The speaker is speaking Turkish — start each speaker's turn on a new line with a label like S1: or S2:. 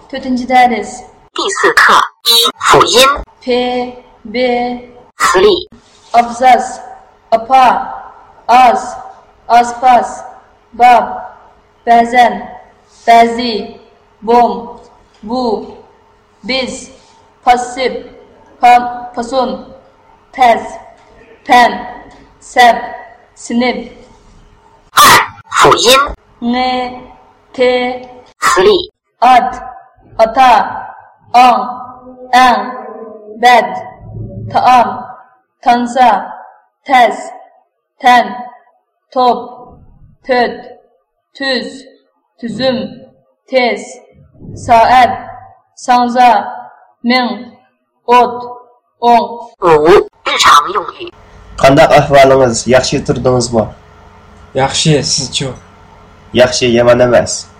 S1: Thirteenth that is
S2: 第四课一辅音
S1: P B
S2: 词例
S1: Abzas Apa Az Aspas Bab Bezen Bezi Bom Bu Biz Pasif Pam Pasun Pez Pen Seb Sinip
S2: 二辅音
S1: Ne Te
S2: 词例
S1: At, ata, an, en, bed, taam, tansa, tez, ten, top, töt, tüz, tüzüm, tez, saat, sanza, min, ot, on.
S2: 五日常用语
S3: قانداق ئەھۋالىڭىز ياخشى تۇردىڭىزمۇ
S4: Yaxshi, sizchu.
S3: ياخشى يامان ئەمەس